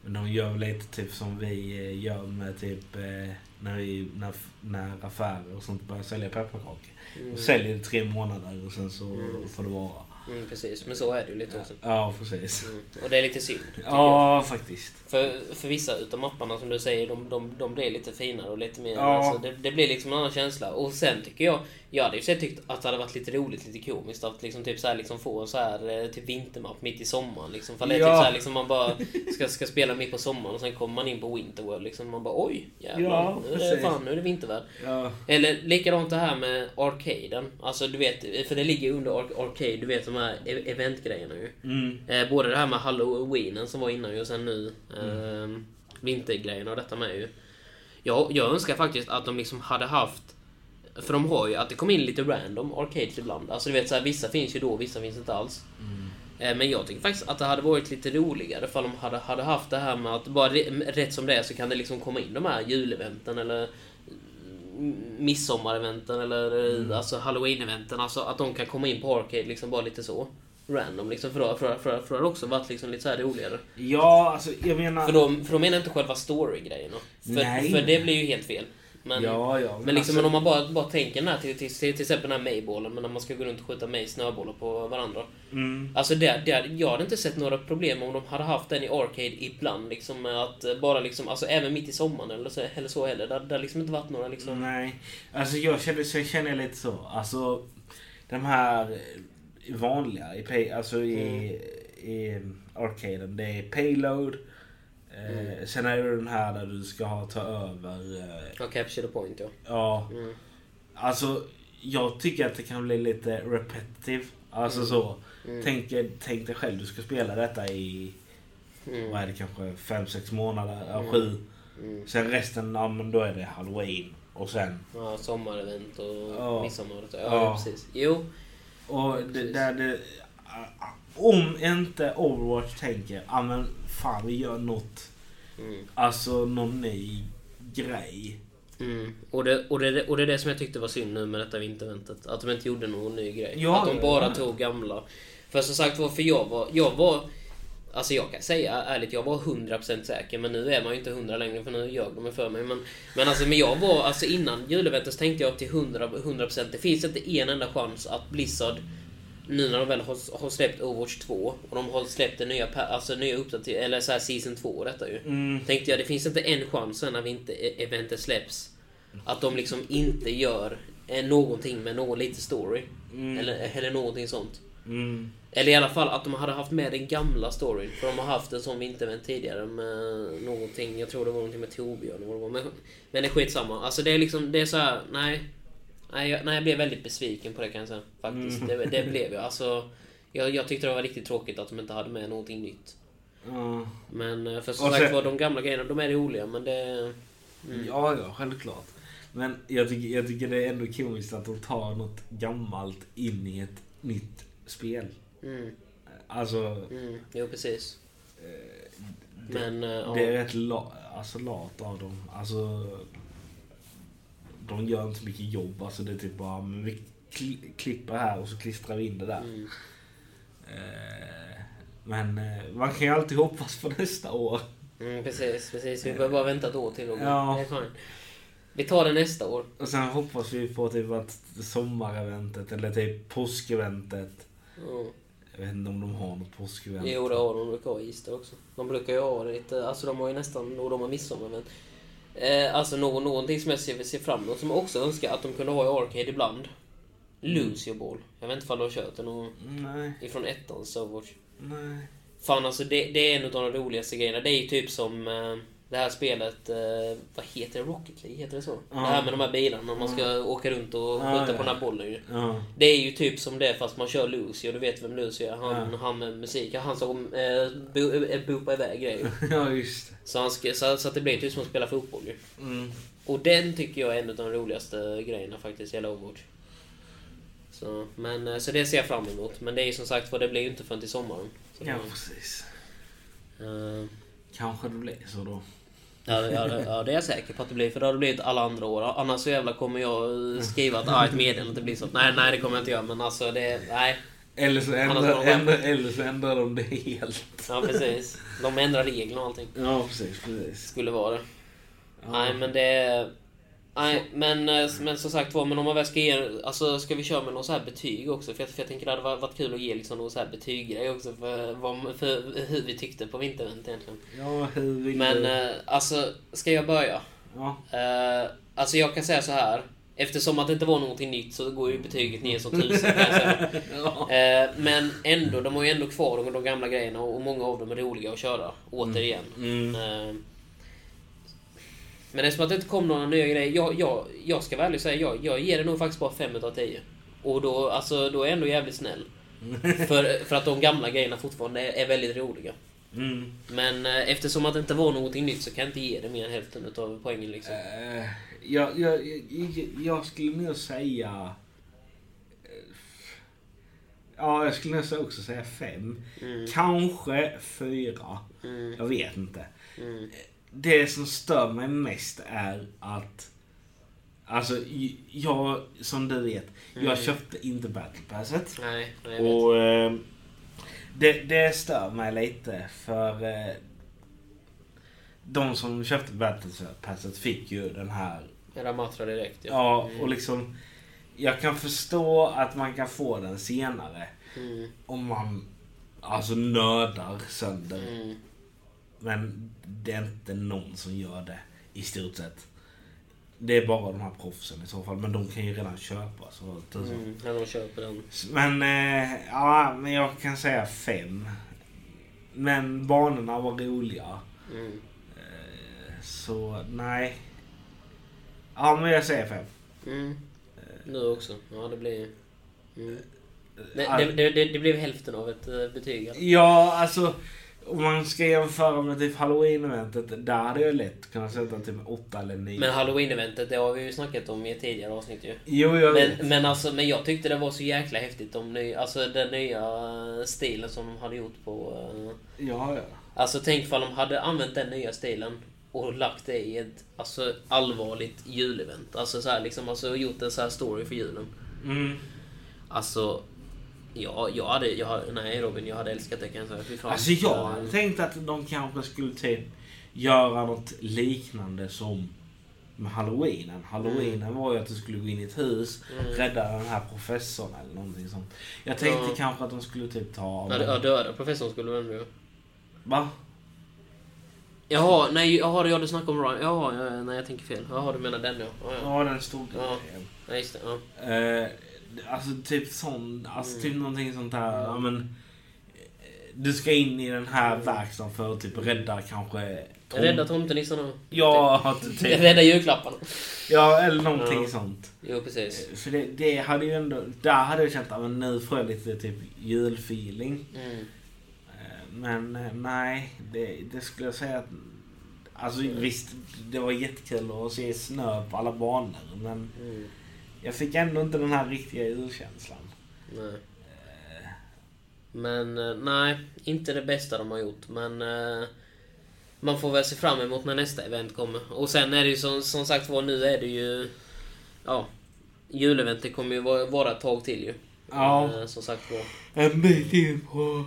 [SPEAKER 2] Men de gör väl lite typ som vi eh, gör med typ eh, när, vi, när, när affärer och sånt börjar sälja pepparkakor.
[SPEAKER 1] Mm.
[SPEAKER 2] De säljer i tre månader och sen så
[SPEAKER 1] Mm.
[SPEAKER 2] får det vara.
[SPEAKER 1] Mm, precis, men så är det ju lite också.
[SPEAKER 2] Ja, precis.
[SPEAKER 1] Mm. Och det är lite synd. tycker jag.
[SPEAKER 2] Ja, faktiskt.
[SPEAKER 1] För, för vissa utav mapparna som du säger, de, de, de blir lite finare och lite mer...
[SPEAKER 2] Ja.
[SPEAKER 1] Alltså, det, det blir liksom en annan känsla. Och sen tycker jag, jag hade ju sett tyckt att det hade varit lite roligt, lite komiskt att liksom, typ så här, liksom få en så här eh, typ vintermapp mitt i sommaren. Liksom. För det är typ
[SPEAKER 2] Ja.
[SPEAKER 1] så här, liksom, man bara ska, ska spela mitt på sommaren och sen kommer man in på Winterworld. Liksom. Man bara oj, jävlar,
[SPEAKER 2] Ja,
[SPEAKER 1] nu, är det,
[SPEAKER 2] precis.
[SPEAKER 1] fan, nu är det vintervärld.
[SPEAKER 2] Ja,
[SPEAKER 1] Eller likadant det här med arcaden. Alltså du vet, för det ligger ju under ar- arcade, du vet de här e- eventgrejerna ju.
[SPEAKER 2] mm,
[SPEAKER 1] Eh, både det här med halloweenen som var innan ju och sen nu eh, vintergrejerna och detta med ju. Jag, jag önskar faktiskt att de liksom hade haft för de har ju att det kom in lite random arcades ibland. Alltså du vet så här, vissa finns ju då, vissa finns inte alls. Eh, Men jag tycker faktiskt att det hade varit lite roligare ifall de hade, hade haft det här med att bara re- rätt som det är så kan det liksom komma in de här juleventen eller mm, midsommareventen eller mm. alltså halloween-eventen. Alltså att de kan komma in på arcade liksom bara lite så. Random liksom för då, för, då- för, då- för då har det också varit liksom lite så här roligare.
[SPEAKER 2] ja alltså jag menar...
[SPEAKER 1] För de, för de menar inte själva story-grejerna. För,
[SPEAKER 2] Nej.
[SPEAKER 1] för det blir ju helt fel. Men,
[SPEAKER 2] ja, ja,
[SPEAKER 1] men, liksom,
[SPEAKER 2] alltså,
[SPEAKER 1] men om man bara, bara tänker den här, till, till, till, till exempel den här Mayballen, men när man ska gå runt och skjuta May snöbollar på varandra.
[SPEAKER 2] mm,
[SPEAKER 1] Alltså det, det, jag hade inte sett några problem om de hade haft den i Arcade ibland. Liksom, med att eh, bara liksom, alltså även mitt i sommaren eller så, eller så heller. Det det har liksom inte varit några liksom...
[SPEAKER 2] Nej. Alltså jag känner, så jag känner lite så. Alltså de här eh, vanliga i, pay, alltså, i,
[SPEAKER 1] Mm.
[SPEAKER 2] i mm, arcaden. Det är payload. Eh,
[SPEAKER 1] Mm.
[SPEAKER 2] Sen är det den här där du ska ha ta över. Eh,
[SPEAKER 1] Ja, capture the point ja.
[SPEAKER 2] ja,
[SPEAKER 1] Mm.
[SPEAKER 2] alltså jag tycker att det kan bli lite repetitive. Alltså så.
[SPEAKER 1] Mm.
[SPEAKER 2] Tänk, tänk dig själv, du ska spela detta i
[SPEAKER 1] Mm.
[SPEAKER 2] vad är det kanske fem sex månader, ja, sju.
[SPEAKER 1] Mm.
[SPEAKER 2] Sen resten, ja men då är det halloween. Och sen,
[SPEAKER 1] Ja, sommarevent och
[SPEAKER 2] Ja.
[SPEAKER 1] midsommar. och så. Ja,
[SPEAKER 2] Ja.
[SPEAKER 1] precis. Jo.
[SPEAKER 2] och det, där det, ah, om inte Overwatch tänker, ja men fan vi gör något,
[SPEAKER 1] Mm.
[SPEAKER 2] alltså någon ny grej.
[SPEAKER 1] Mm. Och, det, och, det, och det är det som jag tyckte var synd nu med detta vinterventet. Att de inte gjorde någon ny grej.
[SPEAKER 2] Ja,
[SPEAKER 1] att de
[SPEAKER 2] ja,
[SPEAKER 1] bara
[SPEAKER 2] ja.
[SPEAKER 1] tog gamla. För som sagt var, för jag var... Jag var Alltså jag kan säga ärligt, jag var 100% säker men nu är man ju inte 100 längre för nu gör de det för mig. Men, men alltså men jag var, alltså innan juleventet så tänkte jag till 100%, 100% det finns inte en enda chans att Blizzard nu när de väl har, har släppt Overwatch 2 och de har släppt den nya, pa- alltså nya uppdatering, eller så här Season 2 och detta ju.
[SPEAKER 2] Mm.
[SPEAKER 1] Tänkte e- jag, det finns inte en chans sen när vi inte eventet släpps att de liksom inte gör eh, någonting med någon lite story.
[SPEAKER 2] Mm.
[SPEAKER 1] Eller, eller någonting sånt.
[SPEAKER 2] Mm.
[SPEAKER 1] Eller i alla fall att de hade haft med den gamla storyn. För de har haft en sån vintervänd tidigare med någonting. Jag tror det var någonting med Torbjörn. eller vad det var. Men, men det är skitsamma. Alltså det är liksom, det är så här, nej. Nej jag, nej, jag blev väldigt besviken på det kan jag säga. Faktiskt.
[SPEAKER 2] Mm.
[SPEAKER 1] Det, det blev jag. Alltså, jag. Jag tyckte det var riktigt tråkigt att de inte hade med någonting nytt.
[SPEAKER 2] Ja.
[SPEAKER 1] Men eh, för som
[SPEAKER 2] Och
[SPEAKER 1] sagt
[SPEAKER 2] sen-
[SPEAKER 1] var, de gamla grejerna, de är roliga men det...
[SPEAKER 2] Mm. ja, ja, självklart. Men jag tycker, jag tycker det är ändå komiskt att de tar något gammalt in i ett nytt spel.
[SPEAKER 1] Mm,
[SPEAKER 2] Alltså,
[SPEAKER 1] mm, jo precis.
[SPEAKER 2] eh,
[SPEAKER 1] Men, eh, ja.
[SPEAKER 2] det är rätt la, alltså, lat av dem. Alltså, de gör inte så mycket jobb. Alltså, det är typ bara, men vi kli- klipper här och så klistrar vi in det där.
[SPEAKER 1] Mm.
[SPEAKER 2] Eh, men eh, man kan ju alltid hoppas på <laughs> nästa år.
[SPEAKER 1] Mm, precis, precis. Vi behöver bara vänta ett år till. Och
[SPEAKER 2] Eh. Ja.
[SPEAKER 1] Det är fine. Vi tar det nästa år.
[SPEAKER 2] Och sen hoppas vi på typ att sommareventet eller typ påskeventet.
[SPEAKER 1] Ja.
[SPEAKER 2] Jag vet inte om de har något påskevent.
[SPEAKER 1] Jo, det har de. De brukar ha Easter också. De brukar ju ha lite... Alltså de har ju nästan... Och de har midsommar, men... Eh, alltså någon, någonting som jag ser, ser fram emot, som jag också önskar att de kunde ha i Arcade
[SPEAKER 2] Mm.
[SPEAKER 1] ibland. Lose your ball. Jag vet inte om de har kört den och,
[SPEAKER 2] Nej,
[SPEAKER 1] ifrån ettan, så vart.
[SPEAKER 2] nej.
[SPEAKER 1] Fan alltså, det, det är en av de roligaste grejerna. Det är ju typ som eh, det här spelet, eh, vad heter det? Rocket League, heter det så?
[SPEAKER 2] Ja.
[SPEAKER 1] Det här med de här bilarna, man ska åka runt och
[SPEAKER 2] Ja,
[SPEAKER 1] skjuta på
[SPEAKER 2] ja.
[SPEAKER 1] den här bollen ju.
[SPEAKER 2] Ja. <laughs>
[SPEAKER 1] Det är ju typ som det fast man kör Lucy och du vet vem Lucy är. Han,
[SPEAKER 2] Ja.
[SPEAKER 1] han med musik. Han som eh, bo- eh, bopar iväg grejer.
[SPEAKER 2] ja, just det.
[SPEAKER 1] Så, han ska, så, så att det blir typ som att spela fotboll ju.
[SPEAKER 2] Mm.
[SPEAKER 1] Och den tycker jag är en av de roligaste grejerna faktiskt i hela Overwatch. Så, men, eh, så det ser jag fram emot. Men det är ju som sagt vad det blir ju inte förrän till sommaren. Så,
[SPEAKER 2] Ja, precis.
[SPEAKER 1] eh,
[SPEAKER 2] Kanske det blir så då.
[SPEAKER 1] Ja, det- ja, det- ja, det är jag säker på att det blir. För det har det blivit alla andra år. Annars så jävla kommer jag eh, skriva att ah, ett meddelande inte blir så. Nej, nej det kommer jag inte göra. Men alltså det... Nej.
[SPEAKER 2] Eller så
[SPEAKER 1] Annars får
[SPEAKER 2] ändrar,
[SPEAKER 1] de
[SPEAKER 2] ändrar, eller så ändrar de det helt.
[SPEAKER 1] Ja, precis. De ändrar reglerna och allting.
[SPEAKER 2] Ja, precis. precis.
[SPEAKER 1] Skulle vara det.
[SPEAKER 2] Ja.
[SPEAKER 1] Nej, men det... Nej, men, eh, men som sagt var, men om man väl ska ge... Alltså, ska vi köra med någon så här betyg också? För jag, för jag tänker det hade varit varit kul att ge liksom någon så här betyggrej också för, vad, för hur vi tyckte på vintervänt egentligen.
[SPEAKER 2] Ja, hur vill
[SPEAKER 1] Men
[SPEAKER 2] du?
[SPEAKER 1] eh, alltså, ska jag börja?
[SPEAKER 2] Ja. <laughs>
[SPEAKER 1] Eh, alltså jag kan säga så här. Eftersom att det inte var någonting nytt så går ju betyget ner som tusen kan jag säga.
[SPEAKER 2] <laughs> ja.
[SPEAKER 1] Eh, Men ändå, de har ju ändå kvar de, de gamla grejerna och många av dem är roliga att köra. Återigen.
[SPEAKER 2] Mm.
[SPEAKER 1] Eh, Men eftersom att det inte kom några nya grejer. Jag, jag, jag ska vara ärlig och säga, jag, jag ger det nog faktiskt bara 5 utav 10. Och då, alltså, då är jag ändå jävligt snäll. För, för att de gamla grejerna fortfarande är, är väldigt roliga.
[SPEAKER 2] Mm.
[SPEAKER 1] Men eh, eftersom att det inte var någonting nytt så kan jag inte ge det mer än hälften utav poängen liksom.
[SPEAKER 2] Eh, jag, jag, jag, jag skulle nog säga... eh, Ja, jag skulle nog också säga fem.
[SPEAKER 1] Mm.
[SPEAKER 2] Kanske fyra.
[SPEAKER 1] Mm,
[SPEAKER 2] Jag vet inte.
[SPEAKER 1] mm,
[SPEAKER 2] Det som stör mig mest är att... Alltså, j- jag, som du vet,
[SPEAKER 1] Mm.
[SPEAKER 2] jag köpte inte Battle Passet.
[SPEAKER 1] nej, nej, jag vet.
[SPEAKER 2] Och eh, det, det stör mig lite för eh, de som köpte Battle Passet fick ju den här
[SPEAKER 1] Era matrar direkt ja.
[SPEAKER 2] Ja, och liksom... Jag kan förstå att man kan få den senare
[SPEAKER 1] Mm,
[SPEAKER 2] om man alltså nördar sönder.
[SPEAKER 1] mm,
[SPEAKER 2] Men det är inte någon som gör det i stort sett. Det är bara de här proffsen i så fall, men de kan ju redan köpa. Så,
[SPEAKER 1] mm. Ja, de köper den.
[SPEAKER 2] Men, eh, ja, men jag kan säga fem. Men banorna var roliga.
[SPEAKER 1] Mm.
[SPEAKER 2] Eh, Så nej. Ja, men jag säger fem.
[SPEAKER 1] Mm. Nu också. Ja, det blir... Mm. Det,
[SPEAKER 2] Ar-
[SPEAKER 1] det, det, det, det blev hälften av ett eh, betyg. alltså.
[SPEAKER 2] Ja, alltså om man ska jämföra med typ halloween-eventet, där hade jag lätt kunnat sätta typ 8 eller 9.
[SPEAKER 1] Men halloween-eventet, det har vi ju snackat om i ett tidigare avsnitt ju.
[SPEAKER 2] Jo, jag vet.
[SPEAKER 1] Men, men, alltså, men jag tyckte det var så jäkla häftigt, de ny, alltså den nya eh, stilen som de hade gjort på... eh,
[SPEAKER 2] Ja, ja.
[SPEAKER 1] Alltså tänk ifall de hade använt den nya stilen och lagt det i ett alltså, allvarligt julevent. Alltså, så här, liksom, alltså gjort en så här story för julen.
[SPEAKER 2] Mm.
[SPEAKER 1] Alltså, ja, jag hade, jag, hade- nej Robin, jag hade älskat det kan jag säga. Fy fan.
[SPEAKER 2] Alltså jag hade tänkt att de kanske skulle typ göra något liknande som med halloweenen. Halloweenen
[SPEAKER 1] Mm.
[SPEAKER 2] var ju att du skulle gå in i ett hus, rädda den här professorn eller någonting sånt. Jag tänkte
[SPEAKER 1] Ja.
[SPEAKER 2] kanske att de skulle typ ta...
[SPEAKER 1] Ja, det- Ja, döda professorn skulle vara ändå...
[SPEAKER 2] Va?
[SPEAKER 1] Jaha, nej, jaha, ja, du snackar om Ryan. Jaha, ja, ja, nej jag tänker fel. Jaha, du menar den ja. Ja, ja.
[SPEAKER 2] Ja, den stod
[SPEAKER 1] Ja. Nej, just det. Ja.
[SPEAKER 2] Eh, alltså typ sån, alltså typ
[SPEAKER 1] Mm.
[SPEAKER 2] någonting sånt här. Ja, men, eh, du ska in i den här verkstaden för att typ rädda kanske... tom-
[SPEAKER 1] Mm. Rädda tomtenissarna.
[SPEAKER 2] Ja, <laughs> typ.
[SPEAKER 1] Rädda julklapparna.
[SPEAKER 2] ja, eller någonting
[SPEAKER 1] Ja.
[SPEAKER 2] sånt.
[SPEAKER 1] Jo, precis.
[SPEAKER 2] För Eh, det, det hade ju ändå, där hade jag känt att men nu får jag lite typ julfeeling.
[SPEAKER 1] Mm.
[SPEAKER 2] Eh, Men eh, nej, det, det skulle jag säga att... Alltså visst, det var jättekul att se snö på alla banor men
[SPEAKER 1] Mm.
[SPEAKER 2] jag fick ändå inte den här riktiga julkänslan.
[SPEAKER 1] Nej. Men eh, nej, inte det bästa de har gjort. Men eh, man får väl se fram emot när nästa event kommer. Och sen är det ju som, som sagt var, nu är det ju... Ja, juleventet kommer ju vara, vara ett tag till ju.
[SPEAKER 2] Ja.
[SPEAKER 1] Eh, som sagt var.
[SPEAKER 2] En bit in på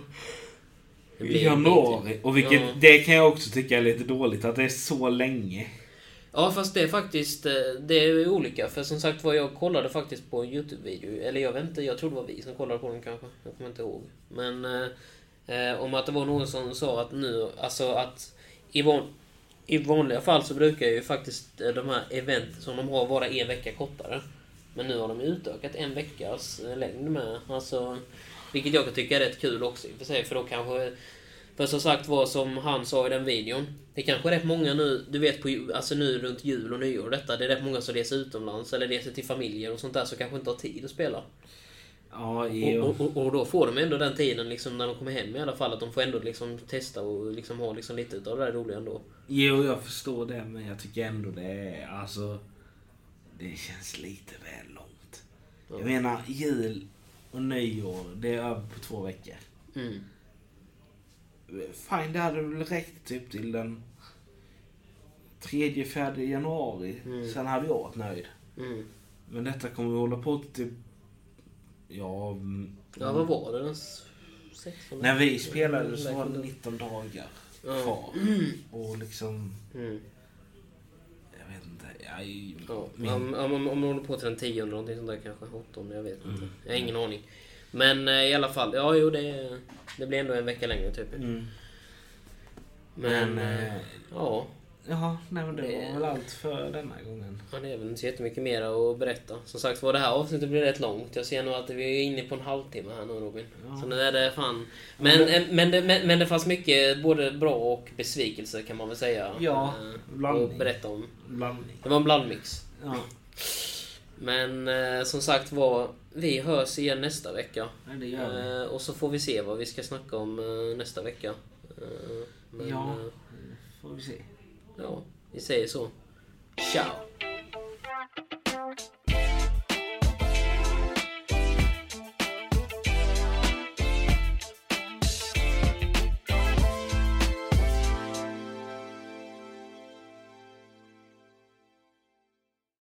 [SPEAKER 1] Det blir en bit
[SPEAKER 2] januari.
[SPEAKER 1] till.
[SPEAKER 2] Och vilket,
[SPEAKER 1] Ja.
[SPEAKER 2] det kan jag också tycka är lite dåligt att det är så länge.
[SPEAKER 1] Ja fast det är faktiskt eh, det är ju olika för som sagt var jag kollade faktiskt på en Youtube-video eller jag vet inte, jag tror det var vi som kollade på den kanske, jag kommer inte ihåg. Men eh, eh, om att det var någon som sa att nu, alltså att i, van, i vanliga fall så brukar ju faktiskt eh, de här event som de har vara en vecka kortare. Men nu har de ju utökat en veckas eh, längd med, alltså vilket jag kan tycka är rätt kul också i och för sig för då kanske för som sagt var som han sa i den videon. Det kanske är rätt många nu, du vet på, ju- alltså nu runt jul och nyår och detta. Det är rätt många som reser utomlands eller reser till familjer och sånt där som kanske inte har tid att spela.
[SPEAKER 2] Ja,
[SPEAKER 1] Och,
[SPEAKER 2] jo.
[SPEAKER 1] och, och, och då får de ändå den tiden liksom när de kommer hem i alla fall. Att de får ändå liksom testa och liksom ha liksom lite utav det där roliga ändå.
[SPEAKER 2] jo, jag förstår det men jag tycker ändå det är alltså... Det känns lite väl långt. Jag menar jul och nyår, det är över på två veckor.
[SPEAKER 1] Mm.
[SPEAKER 2] Fine, det hade väl räckt typ till den 3-4 januari.
[SPEAKER 1] Mm.
[SPEAKER 2] Sen hade jag varit nöjd.
[SPEAKER 1] Mm.
[SPEAKER 2] Men detta kommer vi hålla på till typ... Ja... mm,
[SPEAKER 1] Ja, vad var det? Den s- 16?
[SPEAKER 2] När vi spelade så var det 19 dagar
[SPEAKER 1] Ja.
[SPEAKER 2] kvar. Och liksom...
[SPEAKER 1] Mm.
[SPEAKER 2] Jag vet inte. Jag,
[SPEAKER 1] Ja,
[SPEAKER 2] min,
[SPEAKER 1] om, om, om om de håller på till den tionde eller någonting sånt där kanske. Åttonde, jag vet inte.
[SPEAKER 2] Mm.
[SPEAKER 1] Jag har ingen aning. Men eh, i alla fall, ja jo det, det blir ändå en vecka längre typ.
[SPEAKER 2] mm.
[SPEAKER 1] Men,
[SPEAKER 2] Men,
[SPEAKER 1] eh,
[SPEAKER 2] eh,
[SPEAKER 1] ja.
[SPEAKER 2] Jaha, nej men det var väl allt för denna gången.
[SPEAKER 1] Ja, det är väl inte så jättemycket mer att berätta. Som sagt var, det här avsnittet blir rätt långt. Jag ser nog att vi är inne på en halvtimme här nu Robin. Så nu är det fan... Men, eh, men, det, men, men det fanns mycket både bra och besvikelse kan man väl säga.
[SPEAKER 2] Ja,
[SPEAKER 1] eh,
[SPEAKER 2] blandning.
[SPEAKER 1] Att berätta om.
[SPEAKER 2] Blandning.
[SPEAKER 1] Det var en blandmix.
[SPEAKER 2] Ja,
[SPEAKER 1] Men eh, som sagt var, vi hörs igen nästa vecka.
[SPEAKER 2] nej, det gör vi.
[SPEAKER 1] Eh, och så får vi se vad vi ska snacka om eh, nästa vecka. Eh, men,
[SPEAKER 2] Ja,
[SPEAKER 1] eh,
[SPEAKER 2] får vi se.
[SPEAKER 1] ja, vi säger så. Ciao!